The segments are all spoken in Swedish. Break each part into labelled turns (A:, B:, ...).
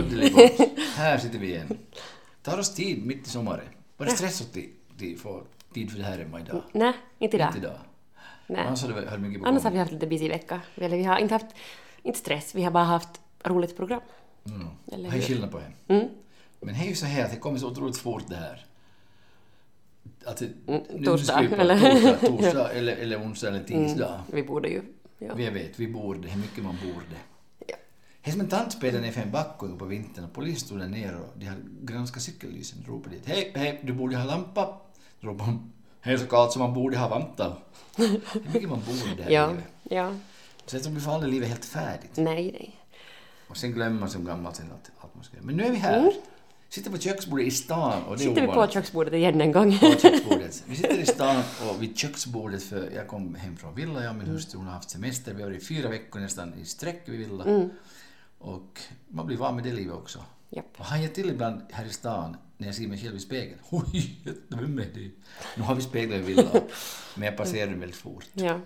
A: Här sitter vi igen. Tar oss tid mitt i sommaren. Var det stress att de- de får tid för det här hemma idag?
B: Nej, inte idag.
A: Inte idag.
B: Nej.
A: Annars hade vi hade mycket på
B: Annars har
A: gång.
B: vi haft lite busy vecka. Eller vi har inte haft, inte stress, vi har bara haft roligt program.
A: Det
B: Eller
A: är
B: hur?
A: skillnad på det.
B: Mm.
A: Men det är ju så här att det kommer så otroligt fort det här. Att det, nu- nu ska
B: Mm, torsdag,
A: vi på
B: eller?
A: Torsdag, torsdag eller, eller onsdag eller tisdag.
B: Vi borde ju... Ja.
A: Vi vet, vi borde, hur mycket man borde. Det är som en tantspelare i fem backor på vintern och polisen stod där nere och de hade granskat cykellysen och ropade dit. Hej, hej, du borde ha lampa. Då ropade de. Hej så kallt som man borde ha vanta. Hur mycket man borde här i
B: Ja,
A: livet.
B: ja.
A: Så jag tror vi får aldrig livet helt färdigt.
B: Nej, nej.
A: Och sen glömmer man som gammal sen att allt man ska göra. Men nu är vi här. Sitter på köksbordet i stan och det är
B: Mm. Sitter vi på
A: ovanligt.
B: köksbordet igen en gång?
A: på köksbordet. Vi sitter i stan och vid köksbordet för jag kom hem från villa, jag och min hustru hon har haft semester. Vi har varit fyra veckor nästan i sträck vid villa. Och man blir van med det livet också.
B: Japp.
A: Och han ger till ibland här i stan när jag ser mig själv i spegeln. Oj, vem är det? Nu har vi speglar i villan, men jag passerar den väldigt fort.
B: Ja.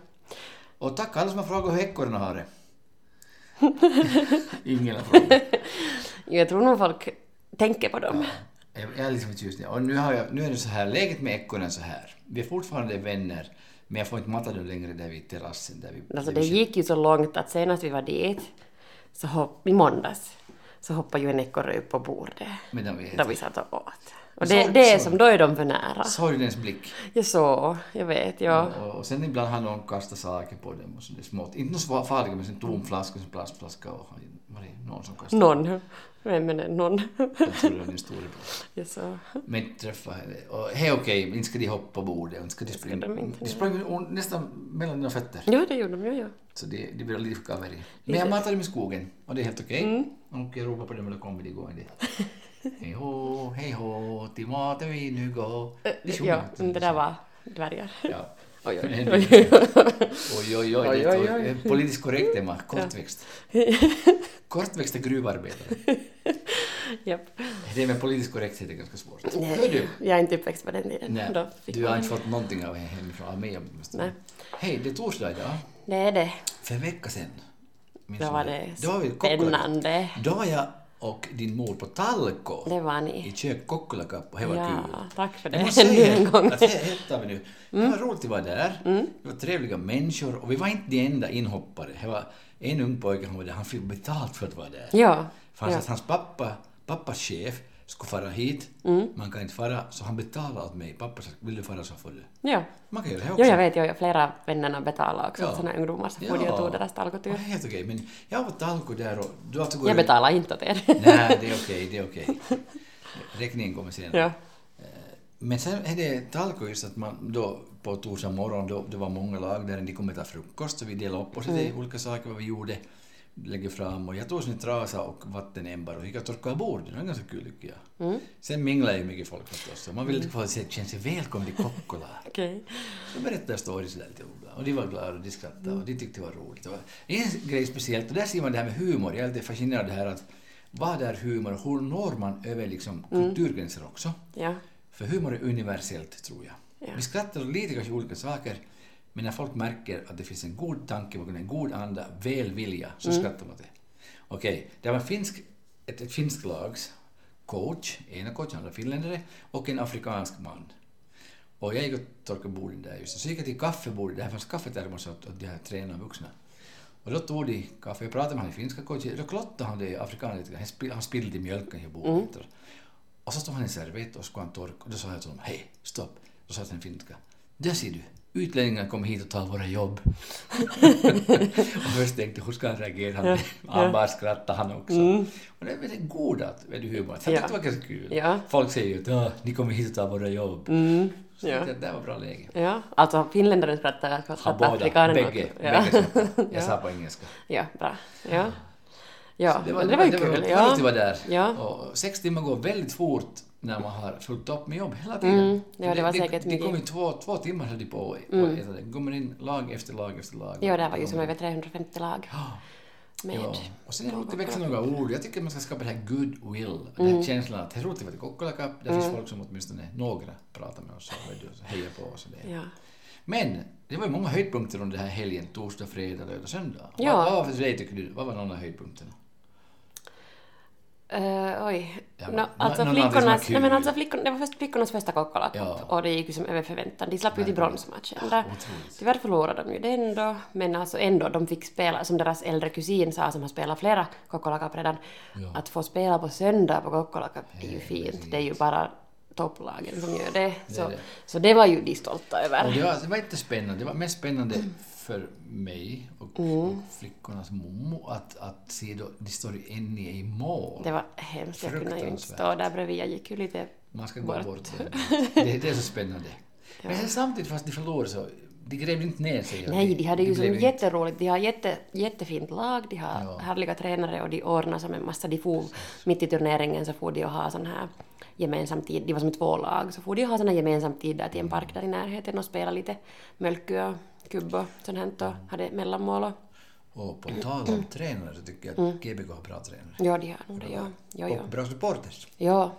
A: Och tack alla som har frågat hur ekorrarna har det. Ingen har frågat.
B: Jo, Jag tror nog folk tänker på dem.
A: Jag jag är liksom förtjust i det. Och nu, har jag, nu är det så här, läget med ekorren är så här. Vi är fortfarande vänner, men jag får inte mata dem längre där vid terrassen. Där vi,
B: Alltså
A: där
B: det
A: vi
B: gick ju så långt att senast vi var dit, så hopp, i måndags, så hoppade ju en ekorre upp på bordet.
A: Men de vet.
B: Då vi satt och åt. Och
A: Men
B: det,
A: så-
B: det är
A: så-
B: som, då är de för nära.
A: Sorgens blick.
B: Jag så, jag vet, ja.
A: Och, och sen ibland har någon kastat saker på dem och så det är smått. Inte något så farligt, men en tom flaska, en plastflaska och var det någon som kastade?
B: Någon. Vem är det? Någon.
A: Jag tror det var din storebror.
B: Jag så.
A: Men inte träffa henne. Och hej okej, inte ska de hoppa på bordet och inte ska de springa.
B: de
A: De,
B: inte,
A: sprang ju nästan mellan dina fötter.
B: Jo, det gjorde de, jo, jo.
A: Så det, det blir livkaveri. Men jag matar dem i skogen och det är helt okej.
B: Mm.
A: Och jag ropar på dem och då kommer de gående. Hej hå, hej hå, till maten vi nu går. Det sjunger
B: Eh, Ja,
A: inte.
B: det där var dvärgar.
A: Ja.
B: Oj, oj,
A: Men-
B: oj.
A: Oj, oj, oj.
B: Oj,
A: det är
B: oj,
A: ett-
B: oj.
A: ett Politiskt korrekt tema. Kortväxt. Kortväxta gruvarbetare.
B: Japp.
A: Det med politisk korrekthet är ganska svårt. Hör du?
B: Jag är inte uppväxt på den tiden.
A: Nej,
B: Då fick
A: du har
B: man-
A: inte fått någonting av hemifrån, av mig åtminstone.
B: Nej.
A: Hej, det är torsdag idag.
B: Det är det.
A: För en vecka sedan. minns
B: Då
A: jag
B: var det
A: Då var vi i Kokkolaka.
B: spännande.
A: Då var jag och din mor på Talko
B: Det var
A: i
B: ni.
A: kök Kokkolakapp och det var kul.
B: Ja, tack för det.
A: Jag måste säga
B: Ännu en gång. Mm.
A: att det här hittar vi nu. Det var roligt att vara där. Det var trevliga människor och vi var inte de enda inhoppare. Det var en ung pojke, han var där, han fick betalt för att vara där.
B: Ja.
A: Fanns
B: ja.
A: att hans pappa, pappas chef, skulle fara hit.
B: Mm.
A: Man kan inte fara, så han betalade åt mig. Pappa sa, vill du fara så får du.
B: ja.
A: Man kan göra det också.
B: Jo, jag vet, jo, jo, flera av vännerna betalade också.
A: Ja.
B: Såna ungdomar som for och tog deras
A: Det var
B: talgotur.
A: helt okej, men jag var talko där och du har
B: Jag betalar inte åt er.
A: Nej, det är okej, det är okej. Räkningen kommer senare.
B: ja.
A: Men sen är det talko just att man då på torsdag morgon, då, det var många lag där, de kom äta frukost så vi delade upp oss lite i olika saker vad vi gjorde. Lägger fram och jag tog sin trasa och vattenämbar och gick och torkade bordet, det var ganska kul tycker jag. Sen minglade ju mycket folk förstås och man ville få se, känna sig välkommen till Kokkola.
B: Okej.
A: Så berättade jag stories där till Ola och de var glada och de skrattade och de tyckte det var roligt. Och en grej speciellt, och där ser man det här med humor, jag är lite fascinerad av det här att vad är humor och hur når man över liksom kulturgränser också?
B: Ja.
A: För humor är universellt, tror jag.
B: Ja.
A: Vi skrattar åt lite kanske olika saker, men när folk märker att det finns en god tanke bakom en god anda, välvilja, så skrattar man åt det. Okej, det var en finsk, ett, ett finsk lags coach, ena coachen, andra finländare, och en afrikansk man. Och jag gick och torkade borden där just, så gick jag till kaffebordet, där fanns kaffetermosar åt åt de här tränarna vuxna. Och då tog de kaffe, jag pratade med han i finska coachen, då klottade han det afrikaner lite grann, Han spill- han spillde mjölken i
B: Mm-hmm.
A: bordet. Och så stod han i en servett och skulle han torka. Och då sa jag till honom, hej, stopp. Då sa jag till den finska, där ser du, utlänningar kommer hit och tar våra jobb. och först tänkte jag, hur ska han reagera? Han, han bara skrattade han också. Och det är väldigt god att, vet du, humor. Så Jag tyckte det var ganska kul.
B: Mm. Ja.
A: Folk säger ju att "Ah, ni kommer hit och tar våra jobb. Mm. Så
B: Ja.
A: ja. det där var bra läge.
B: Ja. Alltså finländaren skrattar,
A: Han
B: skrattar
A: båda,
B: afrikanerna.
A: bägge,
B: också. Ja.
A: bägge skrattade. Jag sa på engelska.
B: ja, bra. Ja. Ja, det var, det var ju
A: roligt.
B: kul.
A: Det var roligt
B: Ja.
A: att vara där.
B: Ja.
A: Och sex timmar går väldigt fort när man har fullt upp med jobb hela tiden.
B: Mm, ja, det var
A: det,
B: säkert
A: det,
B: mycket.
A: kom ju två, två timmar hade de på mm. Det kommer in lag efter lag efter lag.
B: Ja, det var ju som över 350 lag med.
A: Ja. Och sen är det roligt att växa några ord. Jag tycker man ska skapa det här goodwill, den här
B: Mm.
A: känslan att det är roligt att vara i Kokkola Cup. Där finns folk som åtminstone några pratar med oss och vet du, så hejar på oss. Och det.
B: Ja.
A: Men det var ju många höjdpunkter under den här helgen, torsdag, fredag, lördag, söndag.
B: Ja.
A: Vad, vad var för dig tycker du, vad var någon av höjdpunkterna?
B: Eh, oj.
A: Ja,
B: Nå,
A: men-
B: alltså,
A: nå- någon av det som var
B: flickornas,
A: kul.
B: nej, men alltså flickorna, det var först flickornas första Coca-Cola-cup
A: Ja.
B: och det gick ju som över förväntan. De slapp ju till
A: Verkligen.
B: bronsmatchen.
A: Ja,
B: Där,
A: otroligt.
B: tyvärr förlorade de ju den då, men alltså ändå, de fick spela, som deras äldre kusin sa som har spelat flera Coca-Cola-cup redan,
A: Ja.
B: att få spela på söndag på Coca-Cola-cup det är ju
A: Ja,
B: fint.
A: precis.
B: Det är ju bara topplagen som gör det. Så
A: är
B: det,
A: det.
B: Så det var ju de stolta
A: Och
B: över.
A: det, var, det var inte spännande. Det var mest spännande för mig och,
B: Mm.
A: och flickornas mommo att, att se då, de står ju inne i mål.
B: Det var hemskt, jag kunde ju inte stå där bredvid. Jag gick ju lite...
A: Man ska
B: Bort.
A: gå bort. Det, det är så spännande. Men sen samtidigt, fast de förlorade så, de grävde inte ner sig.
B: Nej, de hade ju som
A: blev inte-
B: jätteroligt. De har jätte, jättefint lag, de har
A: Ja.
B: härliga tränare och de ordnar som en massa. De for, mitt i turneringen så får de och ha sån här gemensam tid. De var som två lag, så får de och ha sån här gemensam tid där till en park där i närheten och spela lite mölkö och kubb och sånt här och hade mellanmål och...
A: Och på tal om tränare så tycker jag att GBK har bra tränare.
B: Ja, de har nog det, Mm. ja. Jo, jo.
A: Och bra supporters.
B: Ja,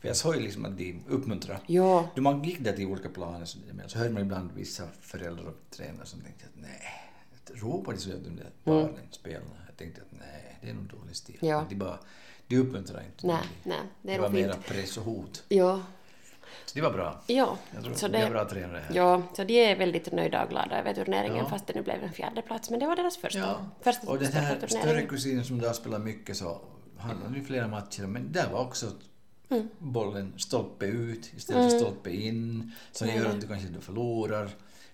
A: För jag såg ju liksom att de uppmuntrar.
B: jo.
A: Då man gick där till olika planer så, men så hörde man ibland vissa föräldrar och tränare som tänkte att nej, att ropar de så att de där barnen, spelarna, jag tänkte att nej, det är nog dålig stil.
B: Mm. Ja.
A: Men De, bara, de uppmuntrar inte.
B: Nej,
A: Det-
B: nej, det är
A: var
B: nog fint.
A: mera press och hot.
B: Jo,
A: Så det var bra.
B: jo.
A: Jag tror
B: Så
A: att vi har
B: det...
A: bra tränare här.
B: Ja, så de är väldigt nöjda och glada över turneringen
A: Ja.
B: fast det nu blev en fjärde plats men det var deras första,
A: Ja.
B: första
A: Och den här
B: största
A: större kusinen som du har spelat mycket så han har ju flera matcher men där var också
B: Mm.
A: bollen stolpe ut istället för stolpe in som gör att du kanske då förlorar.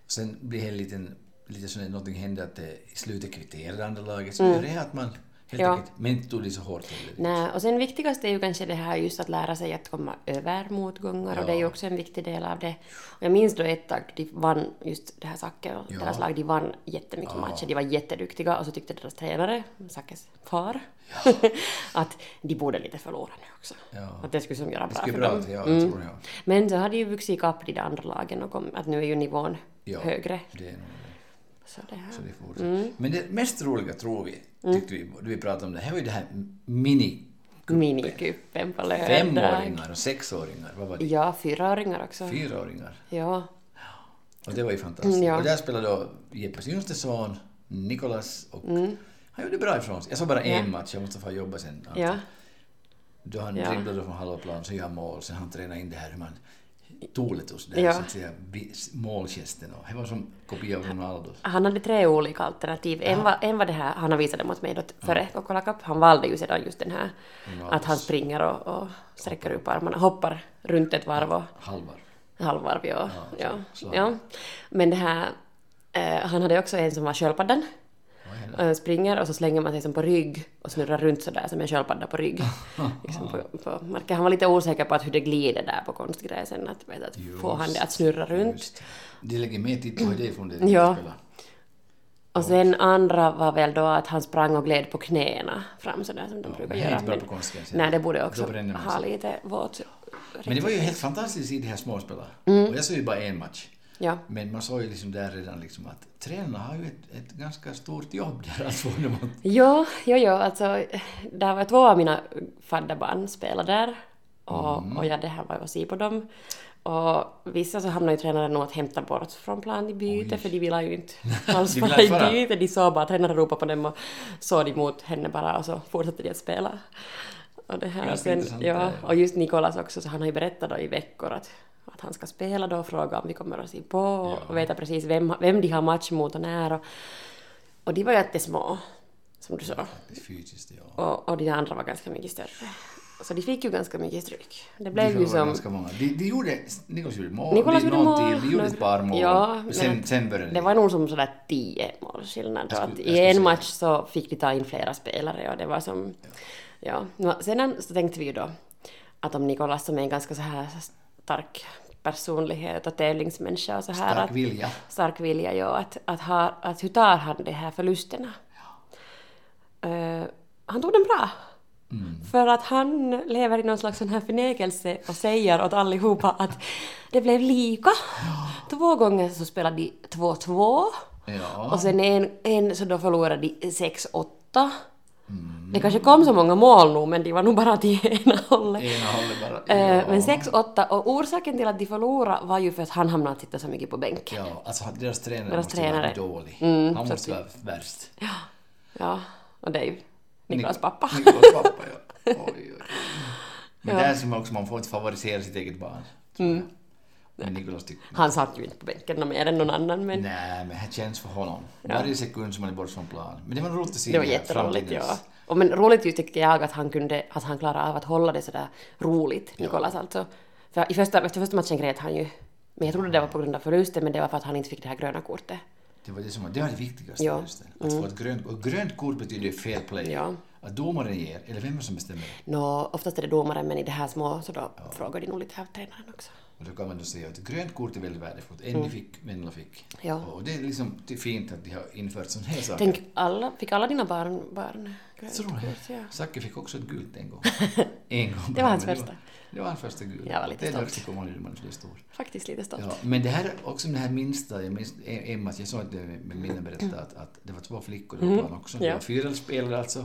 A: Sen blir det en liten, lite sån här, någonting händer att det i slutet kvitterar det andra laget så gör det att man helt
B: Mm. Ja.
A: enkelt, men inte tog det så hårt heller.
B: Nej, och sen viktigaste är ju kanske det här just att lära sig att komma över motgångar och det är ju också en viktig del av det. Och jag minns då ett tag de vann just det här Zacke och
A: Ja.
B: deras lag, de vann jättemycket
A: Ja.
B: matcher, de var jätteduktiga och så tyckte deras tränare, Sackes far, att de borde lite förlora nu också.
A: Ja.
B: Att det skulle som göra
A: Det
B: bra
A: skulle
B: för
A: bra
B: dem.
A: att jag tror jag.
B: Men så hade ju vuxit ikapp de där andra lagen och kom, att nu är ju nivån
A: Ja.
B: högre.
A: Det är nog det.
B: Så det här.
A: Så det fortsätter.
B: Mm.
A: Men det mest roliga tror vi, tyckte vi, då vi pratade om det här, var ju det här mini
B: Minikuppen på lördag.
A: femåringar och sexåringar, vad var det?
B: Ja, fyraåringar också.
A: Fyraåringar.
B: Ja.
A: Och det var ju fantastiskt.
B: Mm, ja.
A: Och där spelade då Jeppes yngste son, Nikolas, och
B: Mm.
A: han gjorde bra ifrån sig. Jag såg bara en match, jag måste få jobba sen.
B: ja.
A: Då han
B: Ja.
A: dribblade från halva plan, så gör han mål, sen han tränade in det här hur man Toletus, där,
B: Ja.
A: så att säga, vi- målgesten. och Det var som kopia av Ronaldo.
B: Han hade tre olika alternativ. En var, en var det här, han har visat det mot mig då före Coca-Cola Cup. Han valde ju sedan just den här
A: Ronaldos.
B: att han springer och, och sträcker upp armarna, hoppar runt ett varv och
A: Halvar.
B: halvvarv. Ja, ja,
A: så-
B: ja.
A: så.
B: Men det här, eh, han hade också en som var sköldpaddan.
A: Vad hände?
B: Eh, springer och så slänger man sig som på rygg och snurrar runt sådär som en sköldpadda på rygg. liksom på, på marken. Han var lite osäker på att hur det glider där på konstgräsen, att, vet, att få han det att snurra runt.
A: Just. De lägger med tid på det från det de
B: Ja.
A: spelar.
B: Och sen andra var väl då att han sprang och gled på knäna fram sådär som de brukar
A: men det är
B: göra.
A: inte bra på konstgräs.
B: nej, det borde också
A: Då bränner man
B: ha
A: sig.
B: lite våt...
A: Men det var ju helt fantastiskt i de här småspelarna.
B: Mm.
A: Och jag såg ju bara en match.
B: Ja.
A: Men man såg ju liksom där redan liksom att tränarna har ju ett, ett ganska stort jobb där att få dem att...
B: Jo, jo, jo, alltså där var två av mina fadderbarn spelade där och,
A: Mm.
B: och jag det här var ju att se på dem. Och vissa så hamnade ju tränaren nog att hämta bort från plan i byte för de ville ju inte alls
A: De
B: vara
A: ville inte
B: i
A: vara.
B: byte. De såg bara att tränaren ropade på dem och såg emot henne bara och så fortsatte de att spela. Och det här och
A: Ganska
B: sen,
A: intressant
B: ja,
A: det, ja.
B: och just Nikolas också, så han har ju berättat då i veckor att, att han ska spela då och fråga om vi kommer att se på och, och veta precis vem, vem de har match mot och när. Och, och de var jättesmå, som du sa.
A: Det är fysiskt, ja.
B: Och, och de andra var ganska mycket större. Så de fick ju ganska mycket stryk. Det
A: Det
B: blev ju som...
A: ganska många. De, de gjorde... Nikolas gjorde mål.
B: Nikolas
A: de,
B: gjorde
A: någon
B: mål,
A: Till, de gjorde
B: några-
A: ett par mål.
B: Ja, men
A: sen,
B: att-
A: sen började
B: Det var nog som sådär tio måls skillnad. Då,
A: Jag
B: att
A: skulle-
B: I
A: jag
B: en
A: skulle
B: match så fick de ta in flera spelare och det var som... Ja. Nå, Sen så tänkte vi ju då att om Nikolas som är en ganska så här stark personlighet och tävlingsmänniska och så här...
A: Stark
B: att,
A: vilja.
B: Stark vilja, ja. Att, att, ha, att hur tar han de här förlusterna? Eh, han tog den bra.
A: Mm.
B: För att han lever i någon slags sån här förnekelse och säger åt allihopa att det blev lika. Två gånger så spelade de 2-2
A: Ja.
B: och sen en, en så då förlorade de 6-8.
A: Mm.
B: Det kanske kom så många mål nu men de var nog bara till ena hållet.
A: Ena hållet bara.
B: Eh,
A: ja.
B: Men 6-8 och orsaken till att de förlorade var ju för att han hamnade att sitta så mycket på bänken.
A: Ja, alltså deras tränare
B: Deras
A: måste
B: tränare. Mm,
A: vara dålig. Han måste vara värst.
B: Ja, och det är ju... Niklas pappa.
A: Niklas pappa, ja. Oj, oj, oj. Men där ser man också, man får inte favorisera sitt eget barn. tror
B: Mm.
A: jag. Men Niklas tycker...
B: Han satt ju inte på bänken något mer än någon annan men
A: Nej, men det känns för honom. Varje sekund som han är bort från plan. Men det var roligt att se
B: det var
A: här
B: jätteroligt.
A: framtidens-
B: Ja. Och men roligt ju tycker jag att han, kunde, att han klarade av att hålla det sådär roligt, Nikolas alltså. För i första, efter första matchen grät han ju. Men jag trodde det var på grund av förlusten men det var för att han inte fick det här gröna kortet.
A: Det var det som var det, var det viktigaste.
B: Ja. Mm.
A: just det. Att få ett grönt, och grönt kort betyder ju fair play.
B: Ja.
A: Att domaren ger, eller vem är det som bestämmer det?
B: Nå, oftast är det domaren men i det här små så då frågar de nog lite här tränaren också.
A: Och då kan man då säga att grönt kort är väldigt värdefullt. En fick, Menla fick.
B: Mm. Ja.
A: Och det är liksom det är fint att de har infört sådana här saker.
B: Tänk, alla, fick alla dina barn, barn grönt
A: Så roligt.
B: kort? Ja.
A: Zacke fick också ett gult en gång. en gång
B: Det var hans
A: Men
B: första.
A: Det var hans första gult.
B: Jag var lite
A: det är
B: stolt.
A: dags att komma ihåg när man blir stor.
B: Faktiskt lite stolt.
A: Ja, men det här, också med det här minsta, jag minns E- Emma, jag sa att det med Minna berättade att, att det var två flickor på
B: Mhm.
A: plan också. Det var fyra spelare alltså,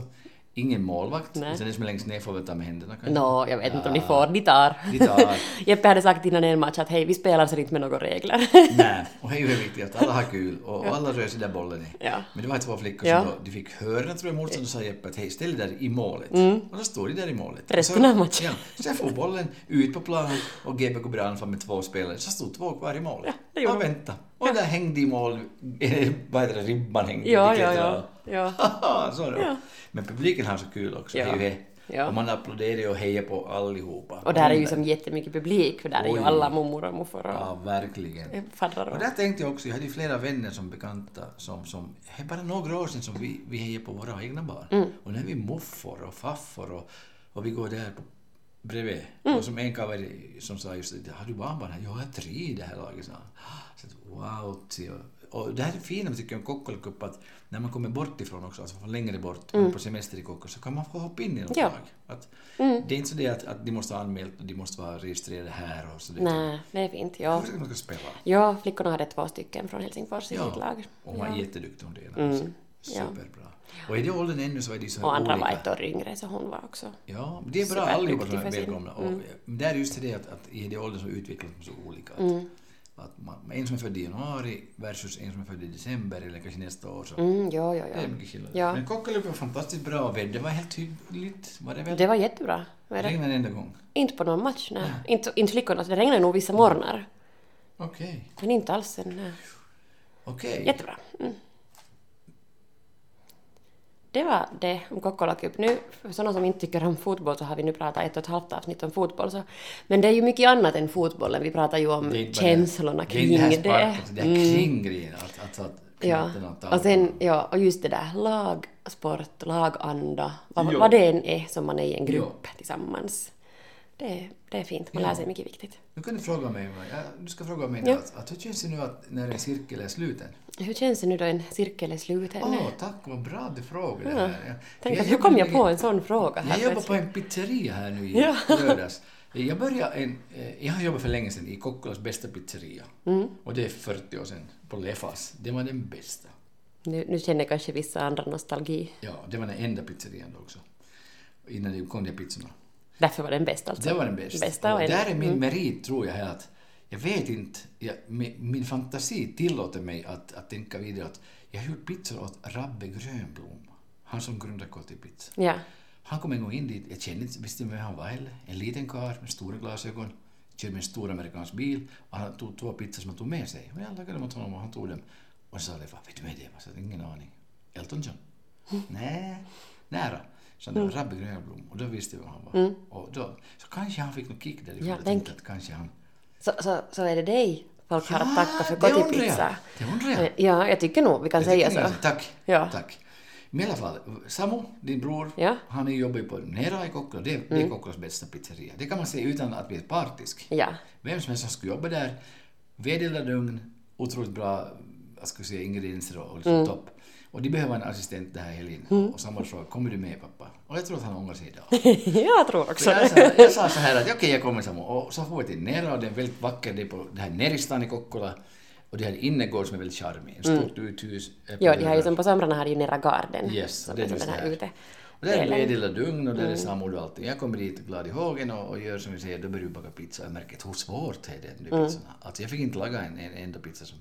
A: ingen målvakt.
B: Nej.
A: Och sen den som är längst ner får väl ta med händerna kanske.
B: Nå, jag vet inte om ni får, ni tar.
A: Ni tar.
B: Jeppe hade sagt innan en match att hej, vi spelar så inte med några regler.
A: Nej, och det är ju viktigt att alla har kul och, och alla rör sig där bollen är.
B: Ja.
A: Men det var två flickor
B: Ja.
A: som då, de fick höra, tror jag, motståndaren sa Jeppe att hej, ställ dig där i målet. Och då står de där i målet.
B: Mm. Resten
A: så,
B: av matchen.
A: Ja, sen får bollen ut på planen och GBK brann fram med två spelare. Så stod två kvar i målet.
B: det gjorde
A: och
B: de.
A: vänta. Och där hängde i mål, Eh, vad heter det, ribban hängde.
B: Ja,
A: De
B: ja,
A: klättrade.
B: ja, ja.
A: Haha, så då. Men publiken har så kul också.
B: Ja.
A: Det är ju det.
B: Ja.
A: Och man applåderar och hejar på allihopa.
B: Och där är ju som jättemycket publik, för där är ju
A: Oj.
B: alla mormor och morfar och
A: Ja, verkligen.
B: faddrar och...
A: Och där tänkte jag också, jag hade ju flera vänner som bekanta som, som det är bara några år sedan som vi, vi hejade på våra egna barn.
B: Mm.
A: Och nu är vi morfar och farfar och, och vi går där på, bredvid.
B: Mm.
A: Och som en kaveri som sa just det, har du barnbarn här? Jag har tre i det här laget, sa han. Så att, wow, se. och det här är fina tycker jag om Kokkola Cup, att när man kommer bort ifrån också, alltså från längre bort, mm. på semester i Kokkola, så kan man få hoppa in i något
B: Ja. Mm.
A: lag. Att, Det är inte så det att, att de måste ha anmält och de måste vara registrerade här och så det.
B: Nej, det är fint. Ja.
A: Jag försöker man ska spela.
B: ja, flickorna hade två stycken från Helsingfors i sitt lag.
A: Och hon är jätteduktig hon det. Mm. Superbra. Och i den åldern ännu så är det så
B: Och andra var
A: olika.
B: ett år yngre, så hon var också...
A: Ja, men det är bra
B: Superduktig
A: allihopa som är
B: för Mm. sin-
A: välkomna. Och det är just det att, att i den åldern så utvecklas man så olika. Att,
B: Mm.
A: att man, en som är född i januari versus en som är född i december eller kanske nästa år. Så
B: Mm, ja, ja,
A: Det är
B: ja.
A: mycket skillnad.
B: Ja.
A: Men Kokkalup var fantastiskt bra väder. Det var helt hyggligt. Var det väl?
B: Det var jättebra. Vad är
A: Det
B: det?
A: regnade en enda gång.
B: Inte på någon match, nej. Inte, inte flickorna, det regnade nog vissa morgnar.
A: Okej.
B: Men inte alls sen, nej.
A: Okej.
B: Jättebra. Mm. Det var det om Kokkola Cup. Nu, för sådana som inte tycker om fotboll så har vi nu pratat ett och ett halvt avsnitt om fotboll. Så. Men det är ju mycket annat än fotbollen. Vi pratar ju om
A: Det är inte bara det.
B: känslorna
A: det. är
B: kring
A: här
B: det. Mm.
A: sparket, Det är kring grejen. Att, att, att
B: Ja.
A: knattarna tar-
B: Och, sen, ja, och just det där lagsport, laganda, vad,
A: Ja.
B: vad det än är som man är i en grupp
A: Ja.
B: tillsammans. Det, det är fint, man lär sig mycket viktigt.
A: Nu kan du fråga mig, vad- ja, du ska fråga mig att, att hur känns det nu att när en cirkel är sluten?
B: Hur känns det nu då en cirkel är sluten?
A: Åh, tack vad bra du frågade det här. Ja.
B: Tänk
A: Jag
B: att hur kom jag
A: jobbar-
B: på en sån fråga? här
A: Jag jobbar på
B: plötsligt?
A: en pizzeria här nu i
B: Ja.
A: lördags. Jag började en, eh, jag har jobbat för länge sedan i Kokkolas bästa pizzeria.
B: Mm.
A: Och det är 40 år sedan, på Lefas. Det var den bästa.
B: nu, nu känner kanske vissa andra nostalgi.
A: Ja, det var den enda pizzerian då också. Innan det kom de pizzorna.
B: Därför var den bäst alltså.
A: Det var den bästa.
B: Bästa
A: och
B: och
A: där är min merit, tror jag, är att jag vet inte, jag, min, min fantasi tillåter mig att, att tänka vidare att jag har gjort pizzor åt Rabbe Grönblom, han som grundade KT Pizza.
B: Ja.
A: Han kom en gång in dit, jag kände inte, visste inte vem han var heller. En liten karl med stora glasögon, körde med en stor amerikansk bil och han tog två pizzor som han tog med sig. Och jag lagade dem åt honom och han tog dem. Och så sa Leffa, vet du vem det var? Så jag hade ingen aning. Elton John? Nej, nära. Så det var
B: Mm.
A: Rabbe Grönblom och då visste jag vem han var. Och då, så kanske han fick någon kick därifrån.
B: Ja,
A: jag
B: tänk.
A: tänkte att kanske han... Ah,
B: Så, så, så är det dig folk har att tacka för
A: det undrar jag.
B: gottipizza.
A: Det undrar jag.
B: Eh, Ja, jag tycker nog vi kan säga
A: Jag tycker
B: så.
A: ni- Tack.
B: Ja.
A: Tack. Men i alla fall, Samu, din bror,
B: Ja. Mm.
A: han jobbar ju på Nera i Kokkola. Det, det är Kokkolas bästa pizzeria. Det kan man säga utan att bli partisk.
B: Ja.
A: Vem som helst som skulle jobba där, vedeldad ugn, otroligt bra jag skulle säga, ingredienser och
B: Mm.
A: liksom topp. Och de behöver en assistent det här helgen. Och Samuel frågade, kommer du med pappa? Och jag tror att han ångrar sig idag.
B: jag tror också
A: Så jag,
B: det.
A: sa, jag sa så här att okej, jag kommer Samu. Och så får vi till Nera och det är väldigt vackert. Det är på det här Neristan i Kokkola. Och det här innergård som är väldigt charmig. Ett stort uthus. öppna
B: Mm. Ja, de har ju
A: dörrar.
B: som på somrarna har ju Nera Garden.
A: Yes,
B: som
A: det är
B: som
A: just
B: den här
A: det här.
B: ute.
A: Och där är
B: delen.
A: det lilla dugn och där är
B: Mm.
A: samord och allting. Jag kommer dit glad i hågen och, och gör som vi säger, då börjar vi baka pizza. Jag märker att hur svårt det är det
B: Mm.
A: med pizzorna. Alltså jag fick inte laga en, en enda pizza som...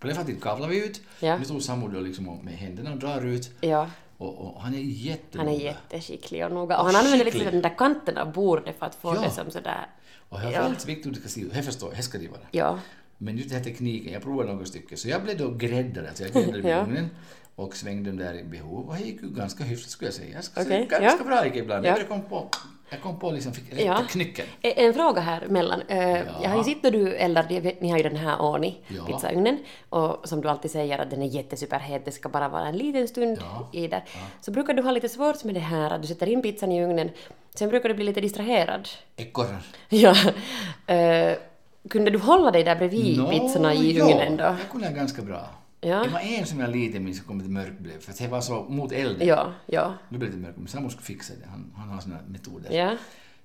A: På den tiden kavlade vi ut,
B: Ja.
A: nu tog Samu då liksom och med händerna och drar ut.
B: Ja.
A: Och, och han är jättenoga.
B: Han är jätteskicklig och noga. Och han använder
A: skicklig.
B: liksom den där kanten av bordet för att få
A: Ja.
B: det som sådär...
A: Och här är allt viktigt du ska skriva. Här förstår jag, här ska det vara.
B: Ja.
A: Men just den här tekniken, jag provade några stycken. Så jag blev då gräddare, alltså jag gräddade
B: Ja.
A: ugnen och svängde den där i behov. Och det gick ju ganska hyfsat skulle jag säga. Jag skulle
B: Okej,
A: säga ganska
B: ja.
A: bra gick det ibland.
B: Ja.
A: Jag kom på, jag kom på liksom, fick rätta
B: Ja.
A: knycken.
B: E- En fråga här mellan. Eh, Jag har ju sett när du eldar, jag vet- ni har ju den här Oni,
A: Ja.
B: pizzaugnen, och som du alltid säger att den är jättesuperhet, det ska bara vara en liten stund
A: Ja.
B: i där. Så brukar du ha lite svårt med det här att du sätter in pizzan i ugnen, sen brukar du bli lite distraherad.
A: Ekorrar.
B: ja. Eh, kunde du hålla dig där bredvid
A: Nå,
B: pizzorna i
A: ja,
B: ugnen då?
A: Jag kunde ganska bra.
B: Ja.
A: Det var en som jag lite minns som kom lite mörk blev, för att det var så mot elden.
B: Ja, ja,
A: Nu blev det lite mörk, men sambo skulle fixa det. Han, han har sina metoder.
B: ja.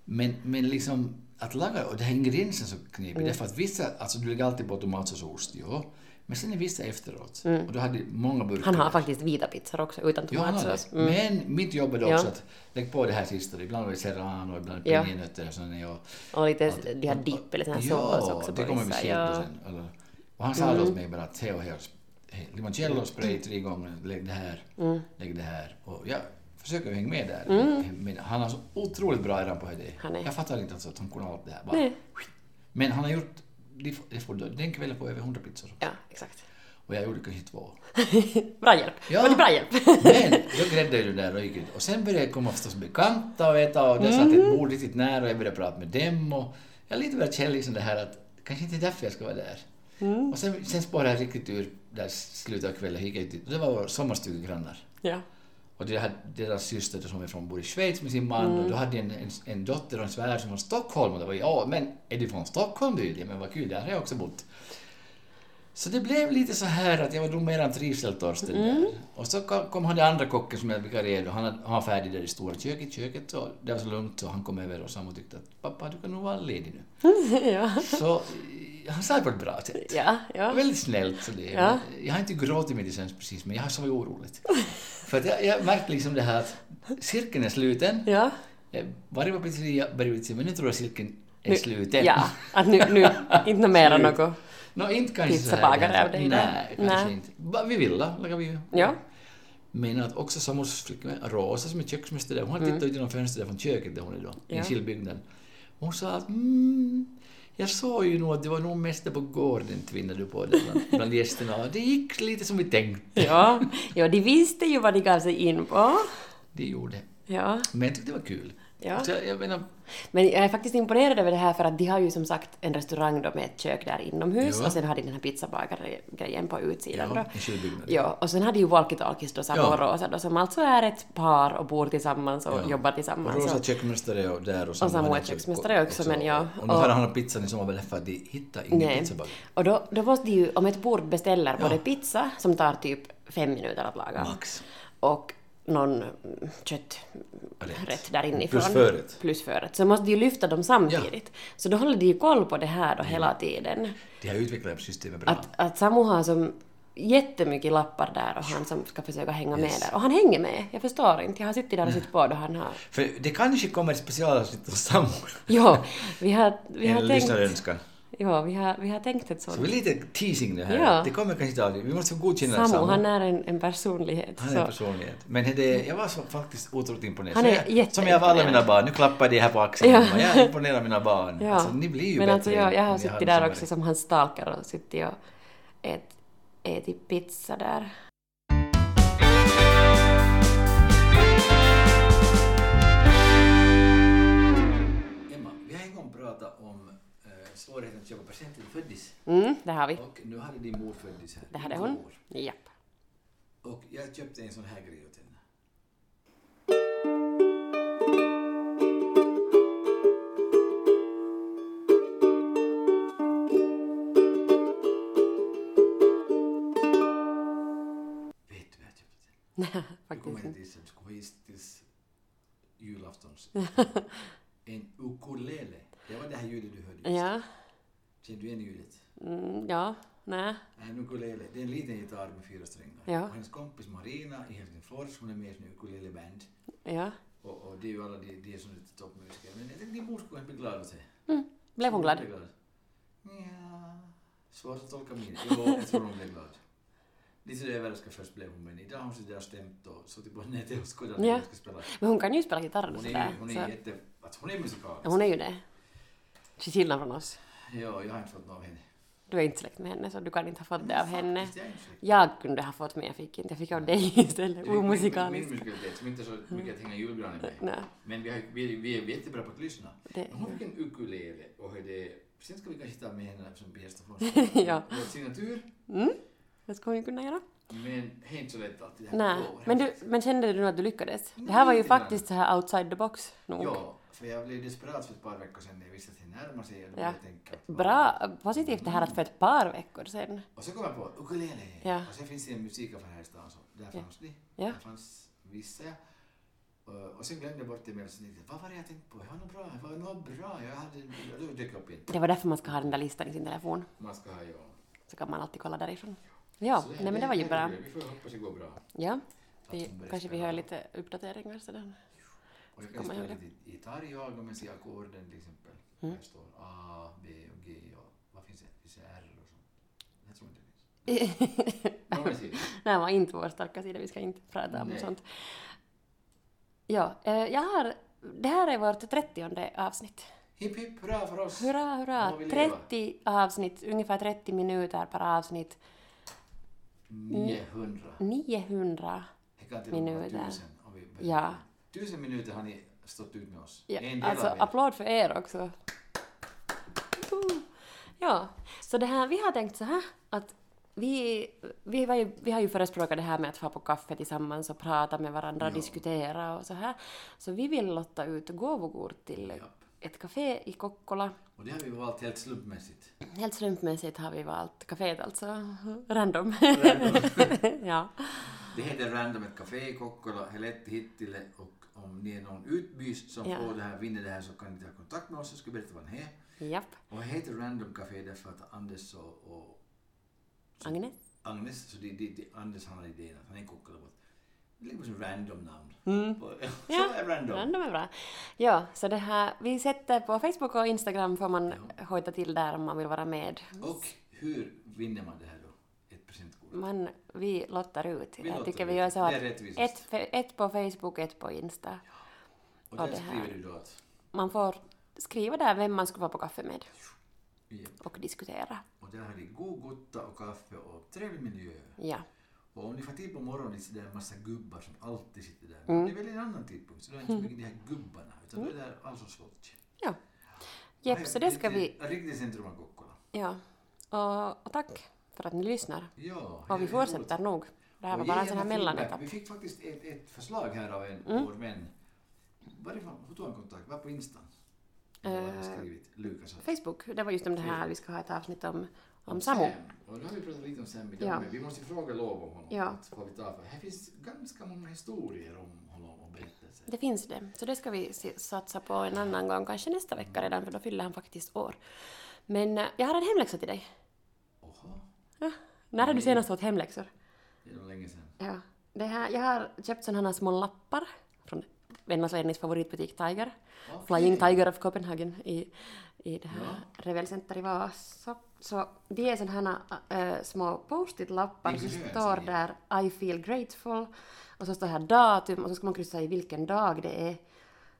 A: Men, men liksom att laga, och det här ingrediensen så knepig,
B: Mm.
A: därför att vissa, alltså du lägger alltid på tomatsås och ost, ja. Men sen är vissa efteråt, och du hade många burkar.
B: Mm. Han har faktiskt vita pizzor också, utan
A: Ja, han har
B: tomatsås.
A: det. Men mitt jobb är då också
B: Ja.
A: att lägga på det här sista, ibland var det serrano, ibland
B: Ja.
A: pinjenötter och sådana. Och,
B: Och lite, de har dipp eller sån här sås också
A: det
B: på
A: kommer vi
B: vissa,
A: se
B: ja. Mm.
A: på sen. Eller, och han sa då åt mig bara att hej och hej, hej, limoncello spray liksom tre gånger, lägg det här,
B: Mm.
A: lägg det här. Och jag försöker hänga med där. Men han har så otroligt bra öron på det.
B: Han är-
A: Jag fattar inte alltså att han kunde allt det här. Bara.
B: Nej.
A: Men han har gjort, det får- det får, den kvällen på över 100 pizzor.
B: Ja, exakt.
A: Och jag gjorde kanske två.
B: Bra hjälp.
A: Ja.
B: Var det bra hjälp?
A: Men då gräddade jag det där och gick ut. Och sen började jag komma förstås bekanta och äta och där satt ett bord riktigt nära och jag började prata med dem och jag har lite börjat känna liksom det här att kanske inte är därför jag ska vara där. Och sen, sen spårade jag riktigt ur där slutet av kvällen och gick jag ut dit. och det var våra sommarstugegrannar.
B: ja.
A: Och det hade deras syster som är från, bor i Schweiz med sin man och då hade en, en, en dotter och en svärd som var från Stockholm och då var jag, ja men är du från Stockholm du? Ja men vad kul, där har jag också bott. Så det blev lite så här att jag var nog mer en trivseltorsten där. Och så kom, kom han den andra kocken som jag vikarierade och han, hade- han var färdig där i stora köket, köket och det var så lugnt så han kom över och sambo tyckte att pappa du kan nog vara ledig nu.
B: ja.
A: Så eh, han sa det på ett bra sätt.
B: Ja, ja.
A: Väldigt snällt. Så det.
B: Ja.
A: Jag har inte gråtit med det sen precis, men jag har sovit oroligt. För att jag, jag märkte liksom det här att cirkeln är sluten.
B: Ja.
A: Eh, Varje var pizzeria började säga, men nu tror jag cirkeln är sluten.
B: Ja, att nu, nu inte nå mera
A: Slut.
B: något.
A: Nå, inte kanske så här.
B: Pizzabagare av dig då?
A: Nej, kanske
B: Nej.
A: inte. Va, Vi vill då, lagar vi ju.
B: Ja.
A: Men att också sambons flickvän Rosa som är köksmästare, hon har tittat ut genom fönstret där från köket där hon är då, i
B: Mm. Ja.
A: Killbyggnaden. Hon sa att mm, jag såg ju nog att det var nog mest på gården tvinnade du på det bland, bland gästerna. Och Det gick lite som vi tänkte.
B: Ja. ja, de visste ju vad de gav sig in på.
A: Det gjorde
B: Ja.
A: Men jag tyckte det var kul.
B: Ja.
A: Så jag, jag menar,
B: Men jag är faktiskt imponerad över det här för att de har ju som sagt en restaurang då med ett kök där inomhus
A: Ja.
B: och sen har de den här pizzabagare-grejen på utsidan
A: Ja,
B: då.
A: i kylbyggnaden.
B: Ja, och sen har de ju walkie-talkies då, Sabo
A: Ja.
B: och Rosa då, som alltså är ett par och bor tillsammans och jobbar tillsammans.
A: Rosa
B: och-
A: köksmästare och där och,
B: Och Samuel
A: han är också-
B: köksmästare också, men ja.
A: Och nu har han pizzan i sommar för att de hittar ingen
B: Nej.
A: pizzabagare.
B: Och då, då måste ju, om ett bord beställer både pizza, som tar typ fem minuter att laga,
A: Max.
B: och någon mm, kötträtt
A: Rätt.
B: där inifrån.
A: Plus förrätt.
B: Plus förrätt. Så måste de ju lyfta dem samtidigt. Så då håller de ju koll på det här då
A: Mm.
B: hela tiden.
A: De har utvecklat systemet bra.
B: Att, att Samu har som jättemycket lappar där och han som ska försöka hänga med där. Och han hänger med. Jag förstår inte. Jag har suttit där och sett på då han har...
A: För det kanske kommer ett specialavsnitt hos Samuel.
B: Jo, vi har, vi har
A: En
B: tänkt...
A: lyssnarönskan.
B: Jo, vi har, vi har tänkt ett
A: Så det
B: sånt.
A: är lite teasing det här.
B: Ja.
A: Det kommer kanske inte av det. Vi måste godkänna
B: Samu,
A: Samu.
B: han är en, en personlighet.
A: Han är
B: så-
A: en personlighet. Men det, jag var så, faktiskt otroligt imponerad.
B: Han
A: Så
B: är
A: jag, som jag var alla
B: jätteimponerad.
A: mina barn. Nu klappar de här på axeln.
B: Ja.
A: Ja. Jag imponerar mina barn.
B: Ja.
A: Alltså, ni blir ju
B: Men
A: bättre.
B: alltså jag, jag
A: än
B: har
A: ni
B: suttit
A: hade
B: där
A: som
B: också som hans stalkare och suttit och ät- ätit pizza där.
A: barn. Emma, vi har en gång pratat om eh, svårigheten att köpa presenter till föddis.
B: Mm, det har vi.
A: Och nu hade din mor föddis här.
B: Det hade
A: Din
B: hon.
A: mor.
B: Japp.
A: Och jag köpte en sån här grej åt henne. Vet du vad jag köpte? Du
B: Faktiskt.
A: kommer inte gissa, du skulle gissa tills julaftons. En ukulele. Det var det här ljudet du hörde. just.
B: Ja.
A: Känner du igen ljudet?
B: Mm, ja. Nej.
A: En ukulele, det är en liten gitarr med fyra strängar.
B: Ja.
A: Och hennes kompis Marina i Helsingfors, hon är med i en ukuleleband.
B: Ja.
A: Och, och det är ju alla de, de som är lite toppmusiker. Men jag tänkte din mor skulle bli glad åt det.
B: Blev hon glad?
A: Ja. Svårt att tolka min. Jo, jag tror hon blev glad. Lite överraskad först blev hon, men idag har hon suttit där och stämt och suttit på nätet och skådat
B: Ja.
A: när hon ska spela.
B: Men hon kan ju spela gitarr och
A: Hon är,
B: sådär.
A: ju- hon
B: så-
A: är jätte... Att hon är musikalisk.
B: Ja, hon är ju det. Till skillnad från oss.
A: Ja, jag har inte fått något av henne.
B: Du är inte släkt med henne så du kan inte ha fått det av henne.
A: Faktiskt, jag är inte riktigt-
B: Jag kunde ha fått men jag fick inte. Jag fick av dig istället.
A: Det är min-
B: Omusikalisk.
A: Min musikalitet som inte är
B: Hm.
A: så mycket att hänga julgranen med.
B: Nej.
A: Men vi, har, vi, är, vi är jättebra på att lyssna.
B: Det-
A: Men hon fick en ukulele och hörde... Sen ska vi kanske ta med henne som bästa från
B: Ja.
A: Vår signatur.
B: Det skulle hon ju kunna göra.
A: Men det är inte så lätt alltid. Det här
B: Nej.
A: går.
B: Men, du, men kände du nog att du lyckades? Det här var ju
A: lite grann.
B: faktiskt så här outside the box nog.
A: Ja, för jag blev desperat för ett par veckor sedan när jag visste att det närmar sig. och då
B: Ja.
A: började jag tänka att-
B: Bra, positivt det här att för ett par veckor sedan.
A: Och så kom jag på ukulele.
B: Ja.
A: Och sen finns det en musikaffär här i stan. Så där fanns det.
B: Ja.
A: Där fanns vissa. ja. Och- Och sen glömde jag bort det med så tänkte jag, vad var det jag tänkte på? Jag har något bra, jag har något bra. Jag hade, och då dök jag upp igen.
B: Det var därför man ska ha den där listan i sin telefon.
A: Man ska ha, ja.
B: Så kan man alltid kolla därifrån. Ja,
A: Så
B: nej men det var ju bra.
A: Vi får hoppas det går bra.
B: Ja.
A: Att hon
B: Vi,
A: börjar
B: kanske vi
A: spela.
B: hör lite uppdateringar sedan.
A: Och jag
B: Ska
A: kan
B: man
A: spela
B: göra Mm.
A: lite gitarr jag och men se ackorden till exempel. Här står A, B och G och vad finns det? Finns det R och sånt? Jag tror inte det finns. Ja, men se.
B: Nej, var inte vår starka sida. Vi ska inte prata om
A: Nej.
B: sånt. Ja, eh, jag har... Det här är vårt 30 avsnitt.
A: Hipp hipp hurra för oss!
B: Hurra, hurra!
A: Må vi leva.
B: 30 avsnitt, ungefär 30 minuter per avsnitt.
A: 900.
B: 900.
A: Det kan till och med
B: Minuter.
A: vara tusen. Om vi börjar.
B: Ja.
A: Tusen minuter har ni stått ut med oss.
B: ja
A: En del
B: alltså,
A: av er.
B: applåd för er också. Woo. Ja, så det här, vi har tänkt så här att vi, vi, var ju, vi har ju förespråkat det här med att få på kaffe tillsammans och prata med varandra,
A: Ja.
B: diskutera och så här. Så vi vill lotta ut gåvokort till
A: Japp.
B: ett café i Kokkola.
A: Och det har vi valt helt slumpmässigt.
B: Helt slumpmässigt har vi valt kaféet alltså. Random. ja.
A: Det heter Random ett café i Kokkola, Helletti Hittile och om ni är någon utbys som
B: Ja.
A: får det här, vinner det här så kan ni ta kontakt med oss så ska vi berätta vad ni är.
B: Japp.
A: Och det heter Random Café därför att Anders och, och
B: Agnes?
A: Agnes, så det, det, det, Anders han har idén att han är Kokkolabot. Det ligger på som random namn. Och- så är random.
B: Mm. Random är bra. Ja, så det här, vi sätter på Facebook och Instagram får man hojta till där om man vill vara med.
A: Och hur vinner man det här då? Ett presentkort.
B: Man, vi lottar ut.
A: Vi
B: jag
A: lottar
B: tycker vi
A: ut.
B: gör så
A: Det
B: att
A: är rättvist.
B: ett, fe- ett på Facebook, ett på Insta.
A: Och där
B: det här.
A: skriver du då att...
B: Man får skriva där vem man skulle vara på kaffe med
A: Ja.
B: och diskutera.
A: Och där har ni god gotta och kaffe och trevlig miljö.
B: Ja.
A: Och om ni får tid på morgonen så är det en massa gubbar som alltid sitter där. Men Det är väl en annan tidpunkt, så då är inte så mycket de här gubbarna, utan då är det där alltså folk.
B: ja. Jepp, så det ska vi...
A: Riktigt centrum av Kokkola.
B: Ja. Och, och tack för att ni lyssnar.
A: Ja.
B: Och vi
A: det är roligt.
B: fortsätter nog. Det här var
A: Och
B: bara
A: ge
B: en sån här
A: gärna feedback.
B: mellanetapp.
A: Vi fick faktiskt ett, ett förslag här av en vår vän. Varifrån, hur tog han kontakt? Var på Insta? Eller vad har han skrivit? Lukas. och-
B: Facebook, det var just om det här vi ska ha ett avsnitt om, om
A: Sam.
B: Samu.
A: Och nu har vi pratat lite om Sam idag,
B: Ja.
A: men vi måste fråga lov om honom.
B: Ja.
A: Att få lite av, för här finns ganska många historier om honom och berättelser.
B: Det finns det. Så det ska vi se- satsa på en annan gång, kanske nästa vecka redan, för då fyller han faktiskt år. Men eh, jag har en hemläxa till dig.
A: Oha,
B: Ja. När har du senast fått hemläxor?
A: det är nog länge sedan.
B: Ja. Det här, jag har köpt sådana här små lappar från Vennas Lennis favoritbutik Tiger.
A: Okej.
B: Flying Tiger of Copenhagen i, i det här Revel Center i Vasa. Så det är sådana här äh, små post-it-lappar
A: Det är
B: som
A: grönt,
B: står
A: säger
B: där I feel grateful och så står här datum och så ska man kryssa i vilken dag det är.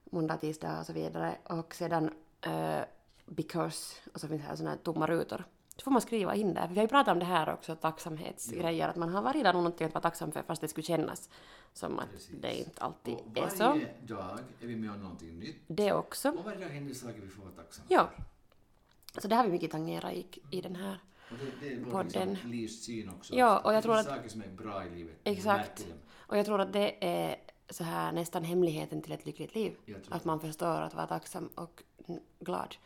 B: Måndag, tisdag och så vidare. Och sedan eh, because och så finns här sådana här tomma rutor. Så får man skriva in där. För vi har ju pratat om det här också, tacksamhetsgrejer, att man har varje dag någonting att vara tacksam för fast det skulle kännas som att
A: Precis.
B: det inte alltid
A: Och
B: är så.
A: varje dag är vi med om någonting nytt.
B: Det också.
A: Och varje dag händer saker vi får vara tacksamma
B: Ja. Så det har vi mycket tangerat i, i den här.
A: för. Och det, det är vår
B: Podden.
A: liksom livssyn också.
B: Ja, och jag
A: det
B: tror
A: finns
B: att-
A: saker som är bra i livet. Vi
B: Exakt.
A: märker dem.
B: Och jag tror att det är så här nästan hemligheten till ett lyckligt liv.
A: Jag tror
B: Att man förstår att vara tacksam och n- glad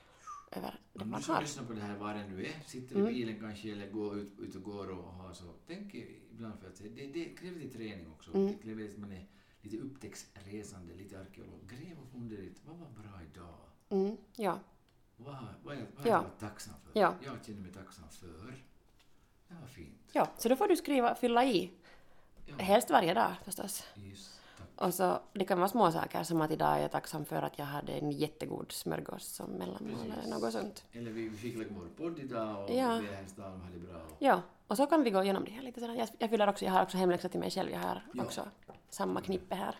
B: över det
A: Om du
B: man
A: som
B: har. Mm.
A: lyssnar på det här var det nu är, sitter i bilen kanske eller går ut, ut och går och har så, tänk ibland för att det, det kräver lite träning också.
B: Mm.
A: Det kräver att man är lite upptäcktsresande, lite arkeolog. Gräv och fundera lite, vad var bra idag?
B: Mm, ja.
A: Vad, har- vad, är- vad
B: Ja.
A: har jag varit tacksam för?
B: Ja.
A: Jag känner mig tacksam för. Det var fint.
B: ja, så då får du skriva, fylla i.
A: Ja.
B: Helst varje dag förstås.
A: Just tack.
B: Och så, det kan vara små saker som att idag är jag tacksam för att jag hade en jättegod smörgås som mellanmål eller något sånt.
A: Eller vi, vi fick lägga vår podd idag och
B: Ja.
A: vi är här i stan och hade det bra. Och,
B: Ja, Och så kan vi gå igenom det här lite sedan. Jag, jag fyller också, jag har också hemläxa till mig själv. Jag har
A: Ja.
B: också samma knippe här.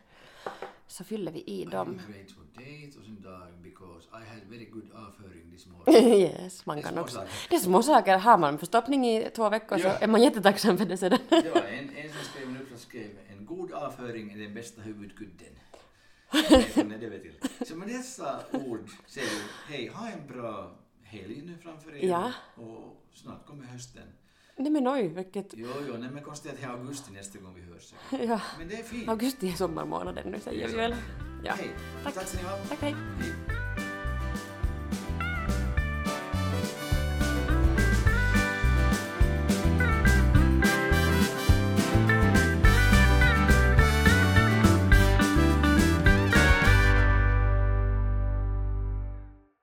B: Så fyller vi i dem.
A: I'm grateful days och sin dag because I had very good avföring this morning.
B: yes, man kan
A: små
B: också.
A: saker.
B: Det är små saker. Har man förstoppning i två veckor så
A: Ja.
B: är man jättetacksam för det sedan.
A: Det var en, en som skrev nu som skrev en god avföring är den bästa huvudkudden. Nej, det vet jag inte. Så med dessa ord säger vi hej, ha en bra helg nu framför er
B: Ja.
A: och snart kommer hösten.
B: Nej men oj, vilket...
A: Jo, jo, nej men konstigt att det är augusti nästa gång vi hörs.
B: Ja.
A: Men det är fint.
B: Augusti är sommarmånaden nu säger vi väl. Ja.
A: Hej,
B: Tack.
A: tack ska ni ha.
B: Tack, hej.
A: Hej.